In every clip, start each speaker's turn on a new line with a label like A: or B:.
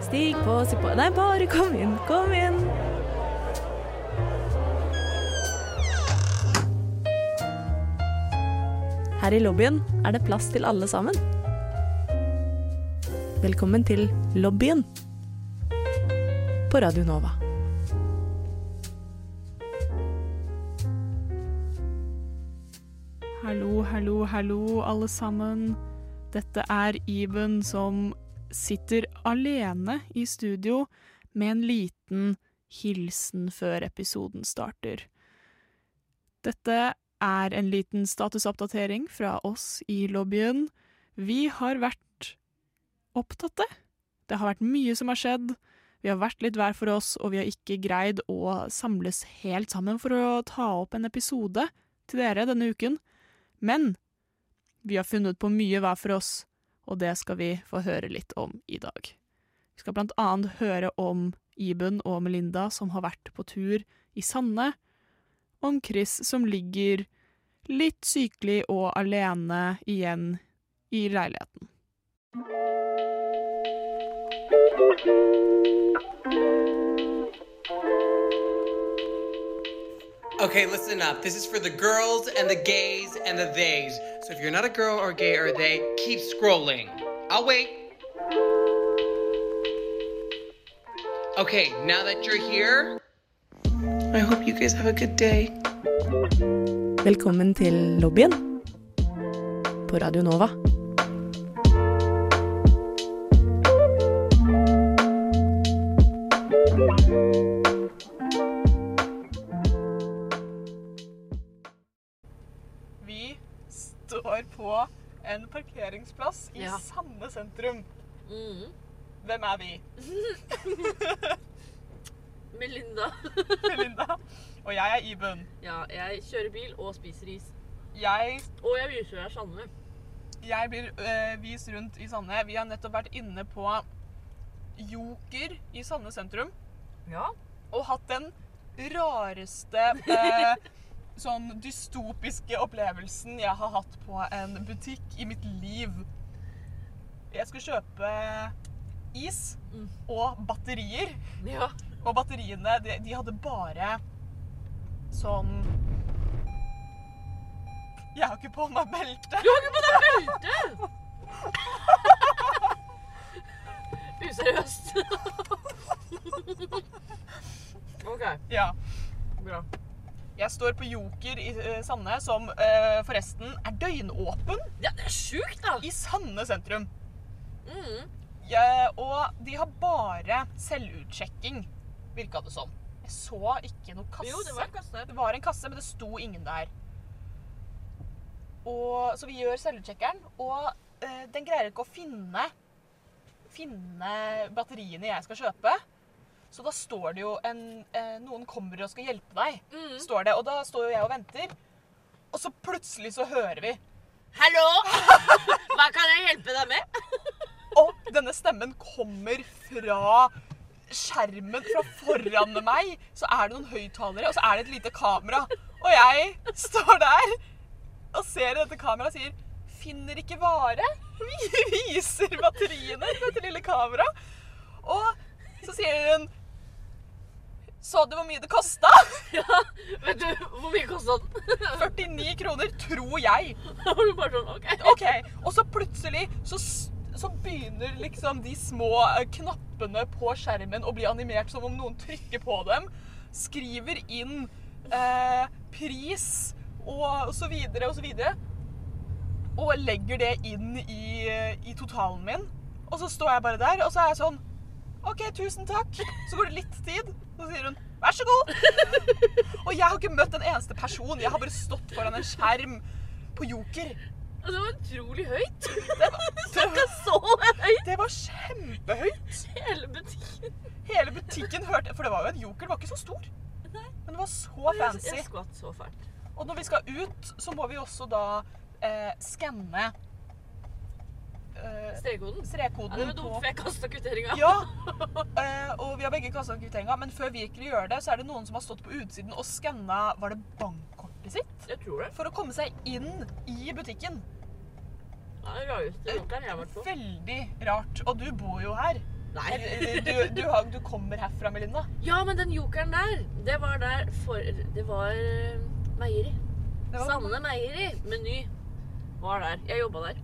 A: Stig på, stig på Nei, bare kom inn, kom inn. Her i lobbyen er det plass til alle sammen. Velkommen til lobbyen på Radio Nova.
B: Hallo, hallo, hallo, alle sammen. Dette er Iben som sitter alene i studio med en liten hilsen før episoden starter. Dette er en liten statusoppdatering fra oss i lobbyen. Vi har vært opptatte. Det har vært mye som har skjedd. Vi har vært litt hver for oss, og vi har ikke greid å samles helt sammen for å ta opp en episode til dere denne uken. Men vi har funnet på mye hver for oss, og det skal vi få høre litt om i dag. Vi skal blant annet høre om Iben og Melinda som har vært på tur i Sande, om Chris som ligger litt sykelig og alene igjen i leiligheten.
C: Okay, listen up. This is for the girls and the gays and the theys. So if you're not a girl or gay or they, keep scrolling. I'll wait. Okay, now that you're here, I hope you guys have a good day.
A: Velkommen til lobbyen på Radio Nova.
B: Vi står på en parkeringsplass i Sande sentrum. Hvem er vi?
D: Melinda.
B: Linda. Og jeg er Iben.
D: Ja, jeg kjører bil og spiser is.
B: Jeg,
D: Og jeg viser deg Sanne.
B: jeg blir øh, vist rundt i Sande. Vi har nettopp vært inne på Joker i Sande sentrum
D: Ja.
B: og hatt den rareste øh, sånn dystopiske opplevelsen jeg har hatt på en butikk i mitt liv. Jeg skulle kjøpe is
D: Mm.
B: og batterier.
D: Ja.
B: Og batteriene, de, de hadde bare sånn Jeg har ikke på meg belte.
D: Du har ikke på deg belte! Useriøst. OK,
B: Ja.
D: bra.
B: Jeg står på Joker i eh, Sande, som eh, forresten er døgnåpen
D: Ja, det er sjukt, da!
B: i Sande sentrum.
D: Mm.
B: Ja, og de har bare selvutsjekking, virka det som. Jeg så ikke noe kasse.
D: Jo, det var kasse.
B: Det var en kasse, men det sto ingen der. Og, så vi gjør selvutsjekkeren, og eh, den greier ikke å finne, finne batteriene jeg skal kjøpe. Så da står det jo en eh, Noen kommer og skal hjelpe deg,
D: Mm.
B: står det. Og da står jo jeg og venter. Og så plutselig så hører vi
D: Hallo! Hva kan jeg hjelpe deg med?
B: Og denne stemmen kommer fra skjermen fra foran meg. Så er det noen høyttalere, og så er det et lite kamera. Og jeg står der og ser i dette kameraet og sier Finner ikke vare. Vi viser batteriene til dette lille kameraet. Og så sier hun Så du hvor mye det kosta?
D: Ja, Vet du hvor mye kosta den?
B: 49 kroner, tror jeg.
D: Da var du bare sånn OK.
B: Ok, og så plutselig så, s- så begynner liksom de små eh, knappene på skjermen å bli animert som om noen trykker på dem, skriver inn eh, pris og, og så videre og så videre, og legger det inn i, eh, i totalen min. Og så står jeg bare der, og så er jeg sånn, ok, tusen takk. Så går det litt tid, så sier hun, vær så god. Og jeg har ikke møtt en eneste person, jeg har bare stått foran en skjerm på Joker.
D: Og Det var utrolig høyt.
B: Det var, det var
D: Jeg så høyt
B: det var kjempehøyt.
D: hele butikken.
B: Hele butikken hørte For det var jo en joker, den var ikke så stor. Men den var så fancy.
D: Jeg skvatt så fælt.
B: Og når vi skal ut, så må vi også da eh, skanne eh,
D: Strekkoden. Ja, det
B: strekkoden
D: var dumt,
B: på
D: for jeg kasta kvitteringa.
B: Ja. Eh, og vi har begge kassa kvitteringa, men før vi rekker å gjøre det, så er det noen som har stått på utsiden og skanna Var det bankkortet sitt?
D: Jeg tror det.
B: For å komme seg inn i butikken.
D: Ja, det er den rareste jokeren jeg har vært på.
B: Veldig rart. Og du bor jo her.
D: Nei.
B: Du, eh, du, har- du kommer herfra, Melinda.
D: Ja, men den jokeren der, det var der for Det var eh, Meieri.
B: Det var-
D: Sanne Meieri, Meny, var der. Jeg jobba der.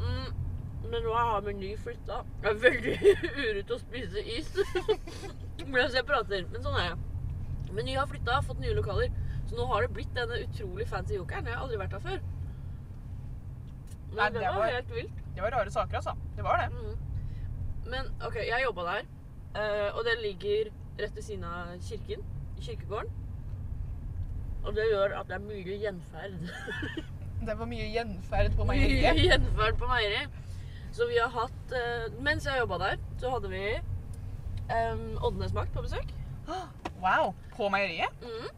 D: Mm, men nå har Meny flytta. Jeg er veldig uret å spise is. Mens jeg prater. Men sånn er jeg. Meny har flytta, fått nye lokaler. Så nå har det blitt denne utrolig fancy jokeren. Jeg har aldri vært der før. Men
B: Nei,
D: det,
B: det
D: var
B: var-
D: helt vilt.
B: Det var rare saker, altså. Det var det.
D: Mm. Men OK, jeg jobba der. eh, og det ligger rett ved siden av kirken. i Kirkegården. Og det gjør at det er mye gjenferd.
B: Det var mye gjenferd på
D: mye
B: meieriet.
D: gjenferd på Meieri. Så vi har hatt eh, Mens jeg jobba der, så hadde vi um, Oddenes makt på besøk.
B: Wow. På meieriet?
D: Mm.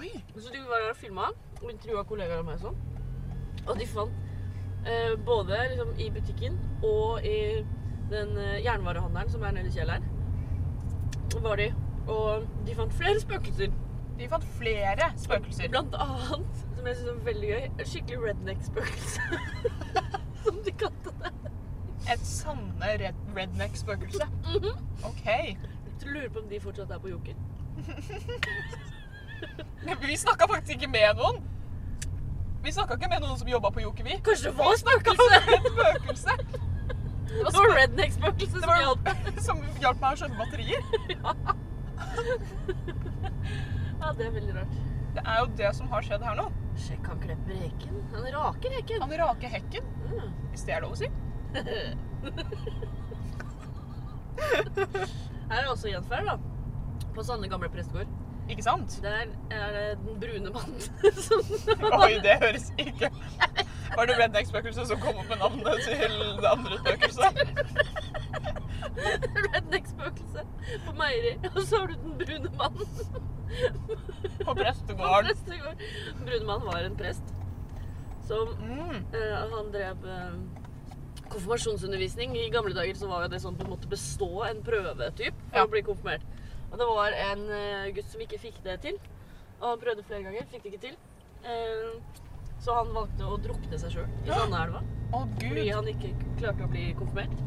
B: Oi.
D: Så de var der og filma og intervjua kollegaer av meg og sånn. Og de fant eh, både liksom, i butikken og i den eh, jernvarehandelen som er nede i kjelleren, var de. Og de fant flere spøkelser.
B: De fant flere spøkelser.
D: Blant annet, som jeg syns var veldig gøy, et skikkelig redneck-spøkelse. som de kalte det.
B: Et sanne red redneck-spøkelse.
D: Mm-hmm.
B: OK.
D: Jeg lurer på om de fortsatt er på Joker.
B: Men Vi snakka faktisk ikke med noen. Vi snakka ikke med noen som jobba på Joker, vi.
D: Kanskje det var
B: Vi snakket
D: spøkelse?
B: med et spøkelse
D: Det var redneck-spøkelset
B: Det
D: som
B: var
D: hjalp.
B: som hjalp meg å skjønne batterier.
D: Ja, det er veldig rart.
B: Det er jo det som har skjedd her nå.
D: Sjekk, han klepper reken. Han raker reken.
B: Han rake hekken,
D: Mm.
B: hvis det er lov å si.
D: Her er også gjenferd, da. På Sanne gamle prestegård.
B: Ikke sant?
D: Der er det den brune mannen som
B: Oi, det høres ikke Var det redneck-spøkelset som kom opp med navnet til det andre spøkelset?
D: Redneck-spøkelset på Meieri. Og så har du den brune mannen
B: På
D: på
B: prestegården.
D: prestegård. Den brune mannen var en prest som
B: Mm.
D: eh, Han drev eh, konfirmasjonsundervisning. I gamle dager så var jo det sånn på en måte bestå en prøvetyp for
B: Ja.
D: å bli konfirmert. Og det var en eh, gutt som ikke fikk det til. Og han prøvde flere ganger, fikk det ikke til. Eh, så han valgte å drukne seg sjøl i Sandeelva.
B: Å,
D: fordi
B: gud.
D: han ikke klarte å bli konfirmert.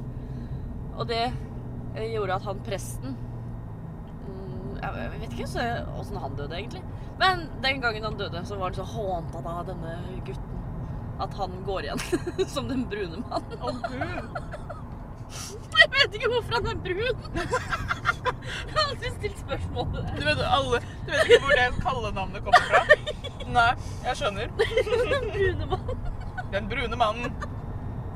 D: Og det eh, gjorde at han presten mm, Jeg jeg vet ikke så- åssen han døde, egentlig. Men den gangen han døde, så var han så hånta av denne gutten at han går igjen som den brune mannen.
B: Å, gud.
D: Jeg vet ikke hvorfor han er brun! Jeg har alltid stilt spørsmål ved det.
B: Du vet, alle, du vet ikke hvor det kallenavnet kommer fra? Nei, jeg skjønner.
D: Den brune mannen.
B: Den brune mannen.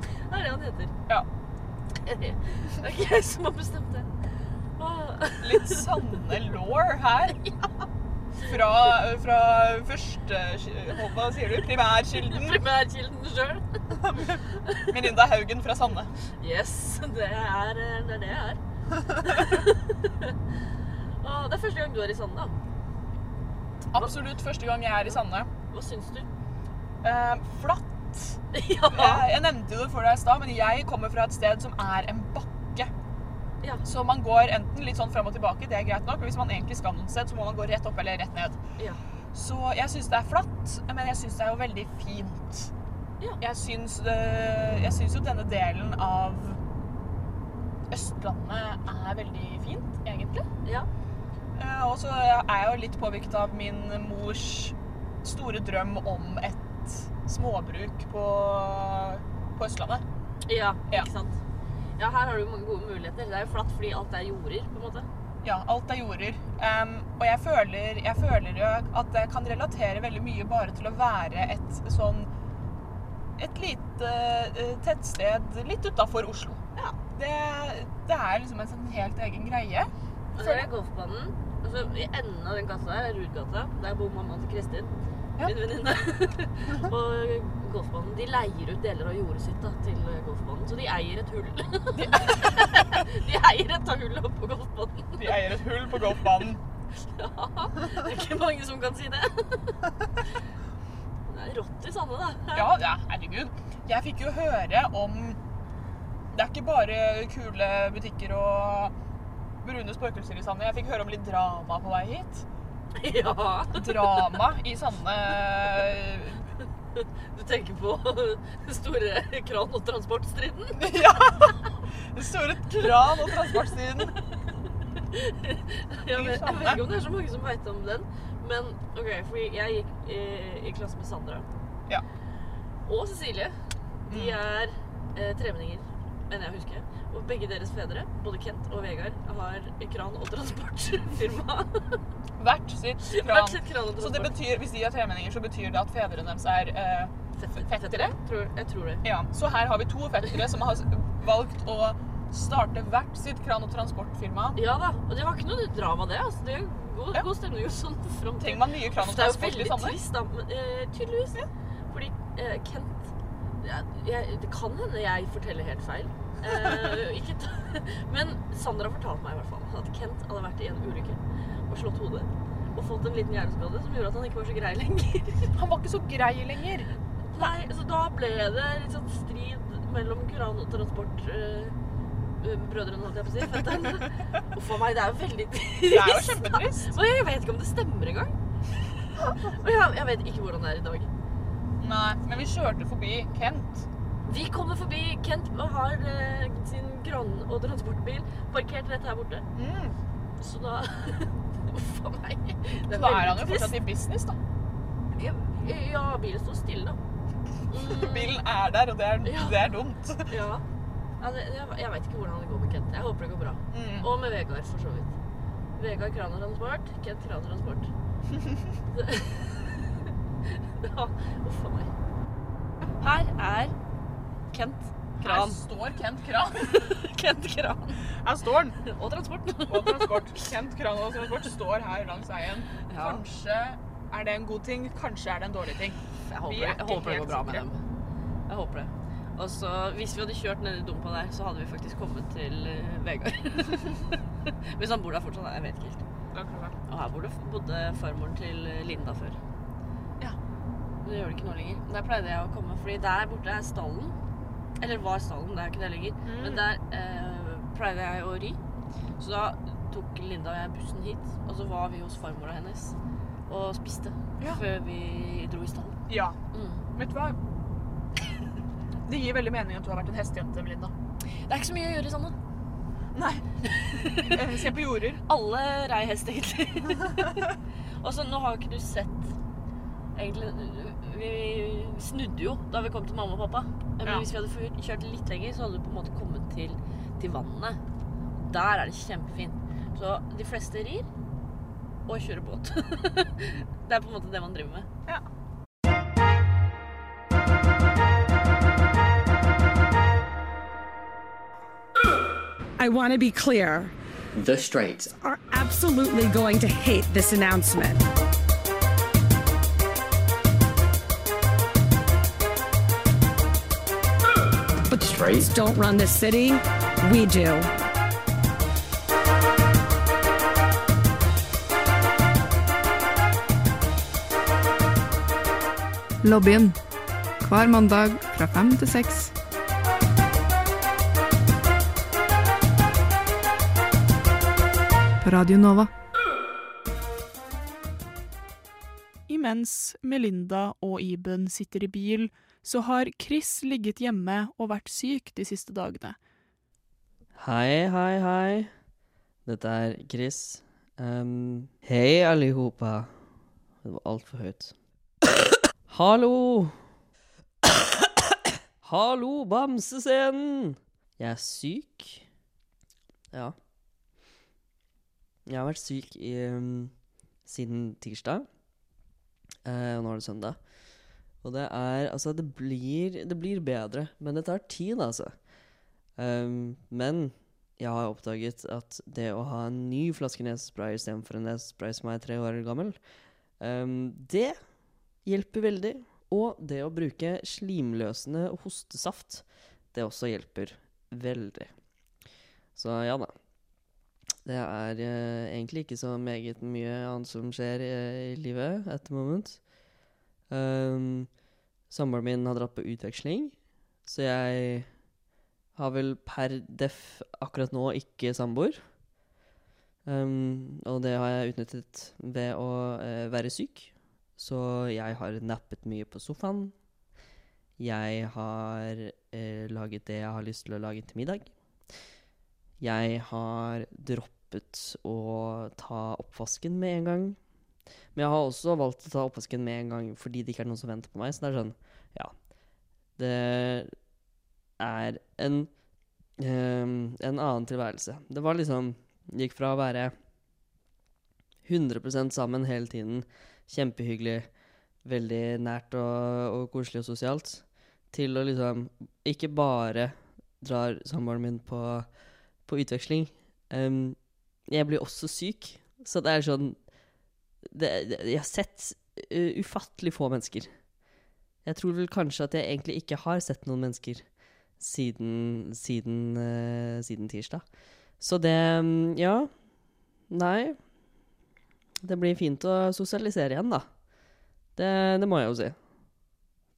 D: Det er det han heter.
B: Ja.
D: Det er ikke jeg som har bestemt det. Ah, Åh.
B: Litt sanne lår her. Fra, fra første Hva sier du? Primærkilden.
D: Primærkilden sjøl.
B: Melinda Haugen fra Sande.
D: Yes, det er det er det jeg er. Og det er første gang du er i Sande. da.
B: Absolutt første gang jeg er i Sande.
D: Hva syns du?
B: Eh, flatt.
D: ja.
B: Jeg, jeg nevnte jo det for deg i stad, men jeg kommer fra et sted som er en bakke.
D: Ja.
B: Så man går enten litt sånn fram og tilbake, det er greit nok. og Hvis man egentlig skal noe sted, så må man gå rett opp eller rett ned.
D: ja.
B: Så jeg syns det er flatt, men jeg syns det er jo veldig fint.
D: Ja.
B: Jeg syns det- Jeg syns jo denne delen av Østlandet er veldig fint, egentlig.
D: Ja.
B: Eh, Og så er jeg jo litt påvirket av min mors store drøm om et småbruk på, på Østlandet.
D: Ja,
B: Ja.
D: ikke sant. Ja, her har du mange gode muligheter. Det er jo flatt fordi alt er jorder, på en måte.
B: Ja, alt er jorder. Em, og jeg føler, jeg føler jo at jeg kan relatere veldig mye bare til å være et sånn Et lite eh, tettsted litt utafor Oslo.
D: Ja.
B: Det, det er liksom en sånn helt egen greie.
D: Og så er det golfbanen. Og så i enden av den kassa her er Rudgata. Der bor mammaen til Kristin.
B: Ja.
D: Min venninne. og golfbanen De leier ut deler av jordet sitt da, til golfbanen, så de eier et hull. de eier et av hullene oppå golfbanen.
B: De eier et hull på golfbanen.
D: Ja, det er ikke mange som kan si det. Det er rått i Sande, da.
B: Ja, ja, herregud. Jeg fikk jo høre om Det er ikke bare kule butikker og brune spøkelser i Sande. Jeg fikk høre om litt drama på vei hit.
D: Ja.
B: Drama i Sande
D: Du tenker på store kran- og transportstriden?
B: Ja! Det står et kran og transportstigen.
D: Jeg vet, jeg vet ikke om det er så mange som veit om den, men OK, fordi jeg gikk i, i klasse med Sandra.
B: Ja. Mm.
D: Og Cecilie. De er eh, tremenninger, mener jeg å huske. Og begge deres fedre, både Kent og Vegard, har kran- og transportfirma.
B: Hvert sitt
D: Hvert
B: kran.
D: sitt kran- og
B: Så det
D: transport.
B: betyr, hvis de er tremenninger, så betyr det at fedrene deres er eh, fettere?
D: Tror, jeg tror det.
B: Ja, så her har vi to fettere som har valgt å starte hvert sitt kran- og transportfirma.
D: Ja da. Og det var ikke noe drama, det. altså. Det er god,
B: Ja.
D: god stemning og sånn fram til
B: Trenger man mye kran- og
D: Det er jo
B: transport sånn, i
D: veldig
B: Sandnes?
D: trist, da. Men, eh, tydeligvis. Fordi eh, Kent jeg, jeg, Det kan hende jeg forteller helt feil. Eh, ikke ta, men Sandra fortalte meg i hvert fall at Kent hadde vært i en ulykke og slått hodet. Og fått en liten hjerneskade som gjorde at han ikke var så grei lenger.
B: Han var ikke så grei lenger.
D: Nei, Så da ble det litt sånn strid mellom Kuran og transport. eh, Brødrene, holdt jeg på å si. Fetterne. Uff a meg, det er jo veldig
B: Det er jo
D: trist.
B: kjempetrist.
D: Og jeg vet ikke om det stemmer engang. Og jeg, jeg vet ikke hvordan det er i dag.
B: Nei, men vi kjørte forbi Kent.
D: Vi kommer forbi Kent og har eh, sin grann- og transportbil parkert rett her borte.
B: Mm.
D: Så da Uff a meg. Det
B: Så da er han jo
D: veldig
B: fortsatt i business, da.
D: trist. Ja, ja, bilen står stille, da. Mm,
B: Bilen er der, og det er,
D: Ja.
B: det er dumt.
D: ja. ja det, jeg, jeg vet ikke hvordan det går med Kent. Jeg håper det går bra.
B: Mm.
D: Og med Vegard, for så vidt. Vegard Kran og Transport, Kent Kran og Transport. Det- ja, uff a meg. Her er Kent
B: Her
D: Kran.
B: står Kent Kran.
D: Kent Kran
B: Her står han.
D: og Transport.
B: Og transport. Kent Kran og transport står her langs veien.
D: Ja.
B: Kanskje er det en god ting, kanskje er det en dårlig ting.
D: Jeg
B: Vi
D: håper,
B: er
D: jeg
B: ikke
D: håper det
B: helt
D: går bra med
B: sikre.
D: dem. Jeg håper det. Og så, hvis vi hadde kjørt ned i dumpa der, så hadde vi faktisk kommet til eh, Vegard. hvis han bor der fortsatt, da, jeg vet ikke helt. Og her bodde, bodde farmoren til eh, Linda før.
B: Ja.
D: Men det gjør det ikke nå lenger. Der pleide jeg å komme, fordi der borte er stallen. Eller var stallen, det er ikke det lenger.
B: Mm.
D: Men der eh, pleide jeg å ri. Så da tok Linda og jeg bussen hit, og så var vi hos farmora hennes og spiste
B: Ja.
D: før vi dro i stallen.
B: Ja.
D: Mm.
B: Vet du hva? Det gir veldig mening at du har vært en hestejente, Melinda.
D: Det er ikke så mye å gjøre i Sande.
B: Nei. Eh, Se på jorder.
D: Alle rei hest, egentlig. og så nå har jo ikke du sett Egentlig Vi snudde jo da vi kom til mamma og pappa. Men
B: Ja.
D: hvis vi hadde fyrt- kjørt litt lenger, så hadde du på en måte kommet til, til vannet. Der er det kjempefint. Så de fleste rir og kjører båt. det er på en måte det man driver med.
B: Ja.
E: I want to be clear
F: The Straits.
E: are absolutely going to hate this announcement. But the
F: Straits?
E: don't run this city, we do.
G: Lobbyen. Hver mandag fra fem til seks. På Radio Nova.
H: Imens Melinda og Iben sitter i bil, så har Chris ligget hjemme og vært syk de siste dagene.
I: Hei, hei, hei. Dette er Chris. Um, hei, allihopa. Det var altfor høyt. Hallo! Hallo, Bamsescenen! Jeg er syk. Ja. Jeg har vært syk i, um, siden tirsdag. Eh, og nå er det søndag. Og det er Altså, det blir, det blir bedre, men det tar tid, altså. Um, men jeg har oppdaget at det å ha en ny flaske nesespray istedenfor en nesespray som er tre år gammel, um, det hjelper veldig. Og det å bruke slimløsende hostesaft, det også hjelper veldig. Så ja da. Det er eh, egentlig ikke så meget mye annet som skjer i, i livet at the moment. Um, Samboeren min har dratt på utveksling, så jeg har vel per def akkurat nå ikke samboer. Um, og det har jeg utnyttet ved å eh, være syk. Så jeg har nappet mye på sofaen. Jeg har eh, laget det jeg har lyst til å lage til middag.
D: Jeg har droppet å ta oppvasken med en gang. Men jeg har også valgt å ta oppvasken med en gang fordi det ikke er noen som venter på meg. Så det er sånn, ja Det er en, ehm, en annen tilværelse. Det var liksom det Gikk fra å være 100 sammen hele tiden, kjempehyggelig, veldig nært og, og koselig og sosialt, til å liksom ikke bare drar samboeren min på, på utveksling. Em, jeg blir også syk, så det er sånn det, det, Jeg har sett eh, ufattelig få mennesker. Jeg tror vel kanskje at jeg egentlig ikke har sett noen mennesker siden, siden, eh, siden tirsdag. Så det mm, Ja. Nei. Det blir fint å sosialisere igjen, da. Det, det må jeg jo si.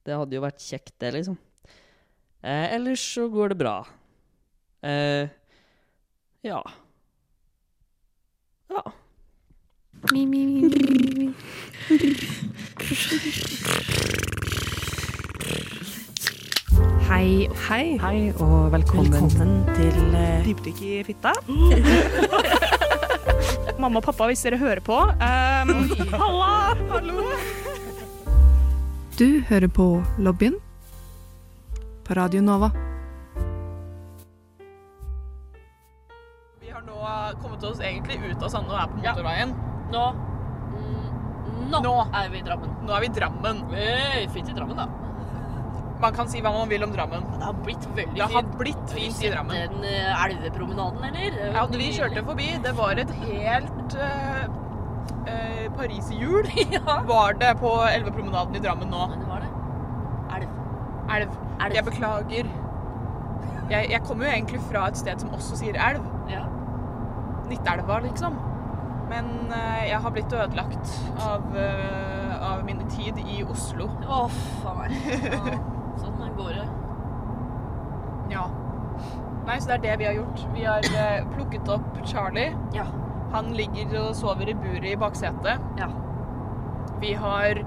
D: Det hadde jo vært kjekt, det, liksom. Eh, ellers så går det bra. Eh, ja. Ja.
G: Mi, mi, mi, mi, mi. Hei. Hei.
J: Hei og velkommen.
K: Velkommen til eh,
E: Dypdykk i fitta. Mamma og pappa, hvis dere hører på. ehm, halla! Hallo!
G: Du hører på Lobbyen på Radio Nova.
B: Vi har nå kommet oss egentlig ut av Sande og er på motorveien.
A: Nå mm, Nå,
B: Nå.
A: er vi i Drammen.
B: Nå er vi i Drammen.
A: Hey, fint i Drammen, da.
B: Man kan si hva man vil om Drammen.
A: Det har blitt veldig
B: Det har
A: fint.
B: blitt fint i Drammen.
A: Den eh, elvepromenaden, eller?
B: Ja, når vi kjørte forbi, det var et helt uh, Paris-hjul
A: ja.
B: var det på Elvepromenaden i Drammen nå.
A: Men det var det. Elv.
B: Elv.
A: Elv.
B: Jeg beklager. Jeg, jeg kommer jo egentlig fra et sted som også sier elv.
A: Ja.
B: Nittelva, liksom. Men eh, jeg har blitt ødelagt av, eh, av min tid i Oslo.
A: Å, faen meg. Ja, Sånn går det.
B: Ja. Nei, så det er det vi har gjort. Vi har eh, plukket opp Charlie.
A: Ja.
B: Han ligger og sover i buret i baksetet.
A: Ja.
B: Vi har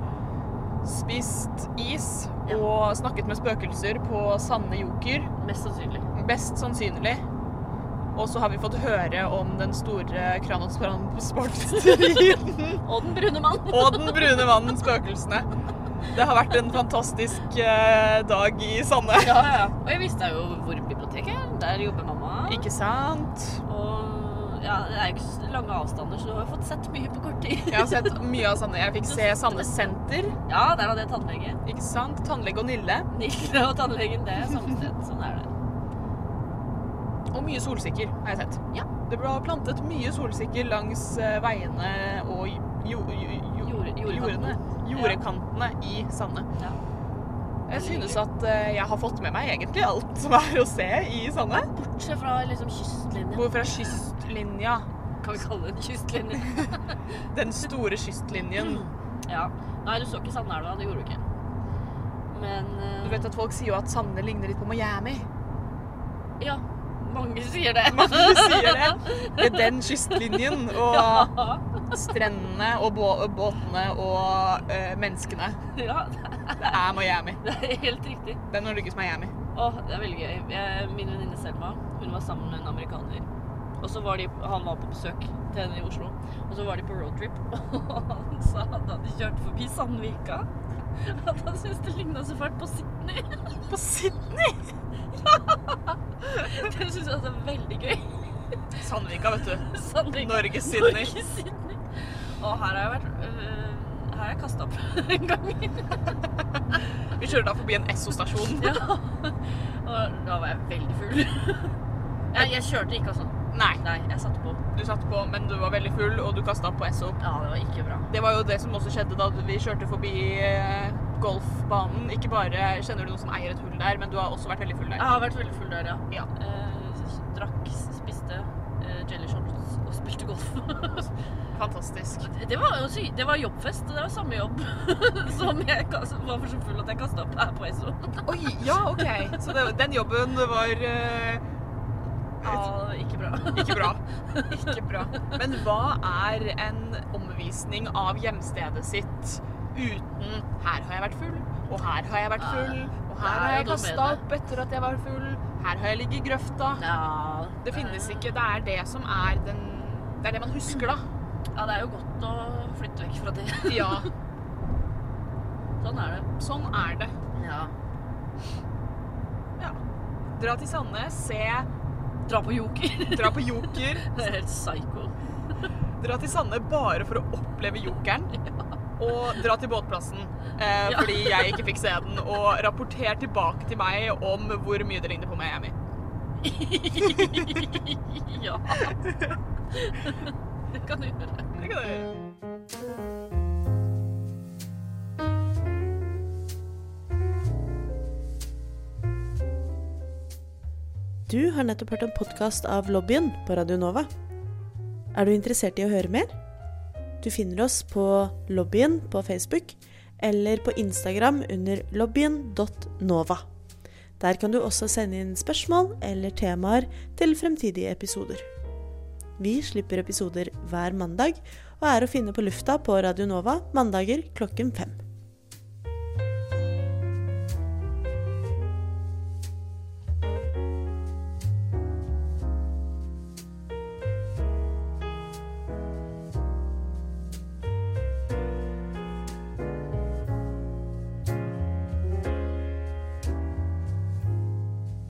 B: spist is
A: Ja.
B: og snakket med spøkelser på Sanne Joker.
A: Mest sannsynlig.
B: Best sannsynlig. Og så har vi fått høre om den store kranospransportstriden
A: Og den brune mann.
B: og den brune mannen spøkelsene. Det har vært en fantastisk eh, dag i Sanne.
A: Ja, ja. Og jeg visste jo hvor biblioteket er. Der jobber mamma.
B: Ikke sant?
A: Og ja, det er jo ikke så lange avstander, så du har jo fått sett mye på kort tid.
B: Jeg har sett mye av Sanne. Jeg fikk se Sanne senter.
A: Ja, der hadde jeg tannlege.
B: Ikke sant? Tannlege og Nille.
A: Nille og tannlegen, det er samme sted. Sånn er det.
B: Og mye solsikker har jeg sett.
A: Ja.
B: Det ble plantet mye solsikker langs eh, veiene og jo, jo, jo,
A: Jorde- jordkantene.
B: jordene. Jordkantene i Sande.
A: Ja.
B: Jeg synes at eh, jeg har fått med meg egentlig alt som er å se i Sande.
A: Bortsett fra liksom kystlinja.
B: Hvor fra kystlinja,
A: Kan vi kalle det en kystlinje?
B: den store kystlinjen
A: Ja. Nei, du så ikke Sandelva. Det gjorde du ikke. Men eh,
B: Du vet at folk sier jo at Sande ligner litt på Miami.
A: Ja. Mange sier det.
B: Mange sier det. Ved den kystlinjen og
A: Ja.
B: strendene og bå båtene og eh, menneskene.
A: ja.
B: Det er Miami.
A: Det er helt riktig.
B: Det er Norges Miami.
A: Åh, det er veldig gøy. Jeg, min venninne Selma, hun var sammen med en amerikaner. Og så var de, Han var på besøk til henne i Oslo, og så var de på roadtrip. Og han sa at da de kjørte forbi Sandvika, at han syntes det ligna så fælt på Sydney. På Sydney?! ja! Det syns jeg er veldig gøy.
B: Sandvika, vet du.
A: Sandvika.
B: Norges Sydney.
A: Norges Sydney. Og her har jeg vært øh, Her har jeg kasta opp en gang.
B: Vi kjører da forbi en Esso-stasjon.
A: Ja. Og da var jeg veldig full. Jeg, jeg kjørte ikke, altså.
B: Nei,
A: Nei, jeg satte på.
B: du satt på, men du var veldig full, og du kasta på Esso.
A: Ja, det var ikke bra.
B: Det var jo det som også skjedde da vi kjørte forbi eh, golfbanen. Ikke bare kjenner du noen som eier et hull der, men du har også vært veldig full der.
A: Jeg har vært veldig full der, ja.
B: Ja.
A: Eh, drakk, spiste eh, jelly shots og spilte golf.
B: Fantastisk.
A: det, var, jo sy- det var jobbfest, og det var samme jobb som jeg kas- var for så full at jeg kasta opp her på Esso.
B: Oi, ja, OK. Så det, den jobben var eh,
A: Ja, ikke bra.
B: ikke bra. Ikke bra. Men hva er en omvisning av hjemstedet sitt uten 'her har jeg vært full', og 'her har jeg vært full', og
A: Nei,
B: 'her har
A: Ah, det
B: jeg
A: er noe med
B: kasta
A: det.
B: opp etter at jeg var full', Her har jeg ligget i grøfta.
D: Ja.
B: Det finnes
A: eh.
B: ikke. Det er det som er den Det er det man husker, da.
D: ja, det er jo godt å flytte vekk fra det.
B: Ja,
D: Sånn er det.
B: sånn er det.
D: Ja.
B: Ja. Dra til Sandnes, se
D: Dra på joker.
B: Dra på Joker.
D: Det er helt psycho.
B: Dra til Sande bare for å oppleve jokeren. Og dra til båtplassen eh,
D: Ja.
B: fordi jeg ikke fikk se den. Og rapporter tilbake til meg om hvor mye det ligner på Miami.
D: ja. Det kan du gjøre.
B: Det kan du gjøre.
A: Du har nettopp hørt en podkast av Lobbyen på Radio Nova. Er du interessert i å høre mer? Du finner oss på Lobbyen på Facebook eller på Instagram under lobbyen.nova. Der kan du også sende inn spørsmål eller temaer til fremtidige episoder. Vi slipper episoder hver mandag og er å finne på lufta på Radio Nova mandager klokken fem.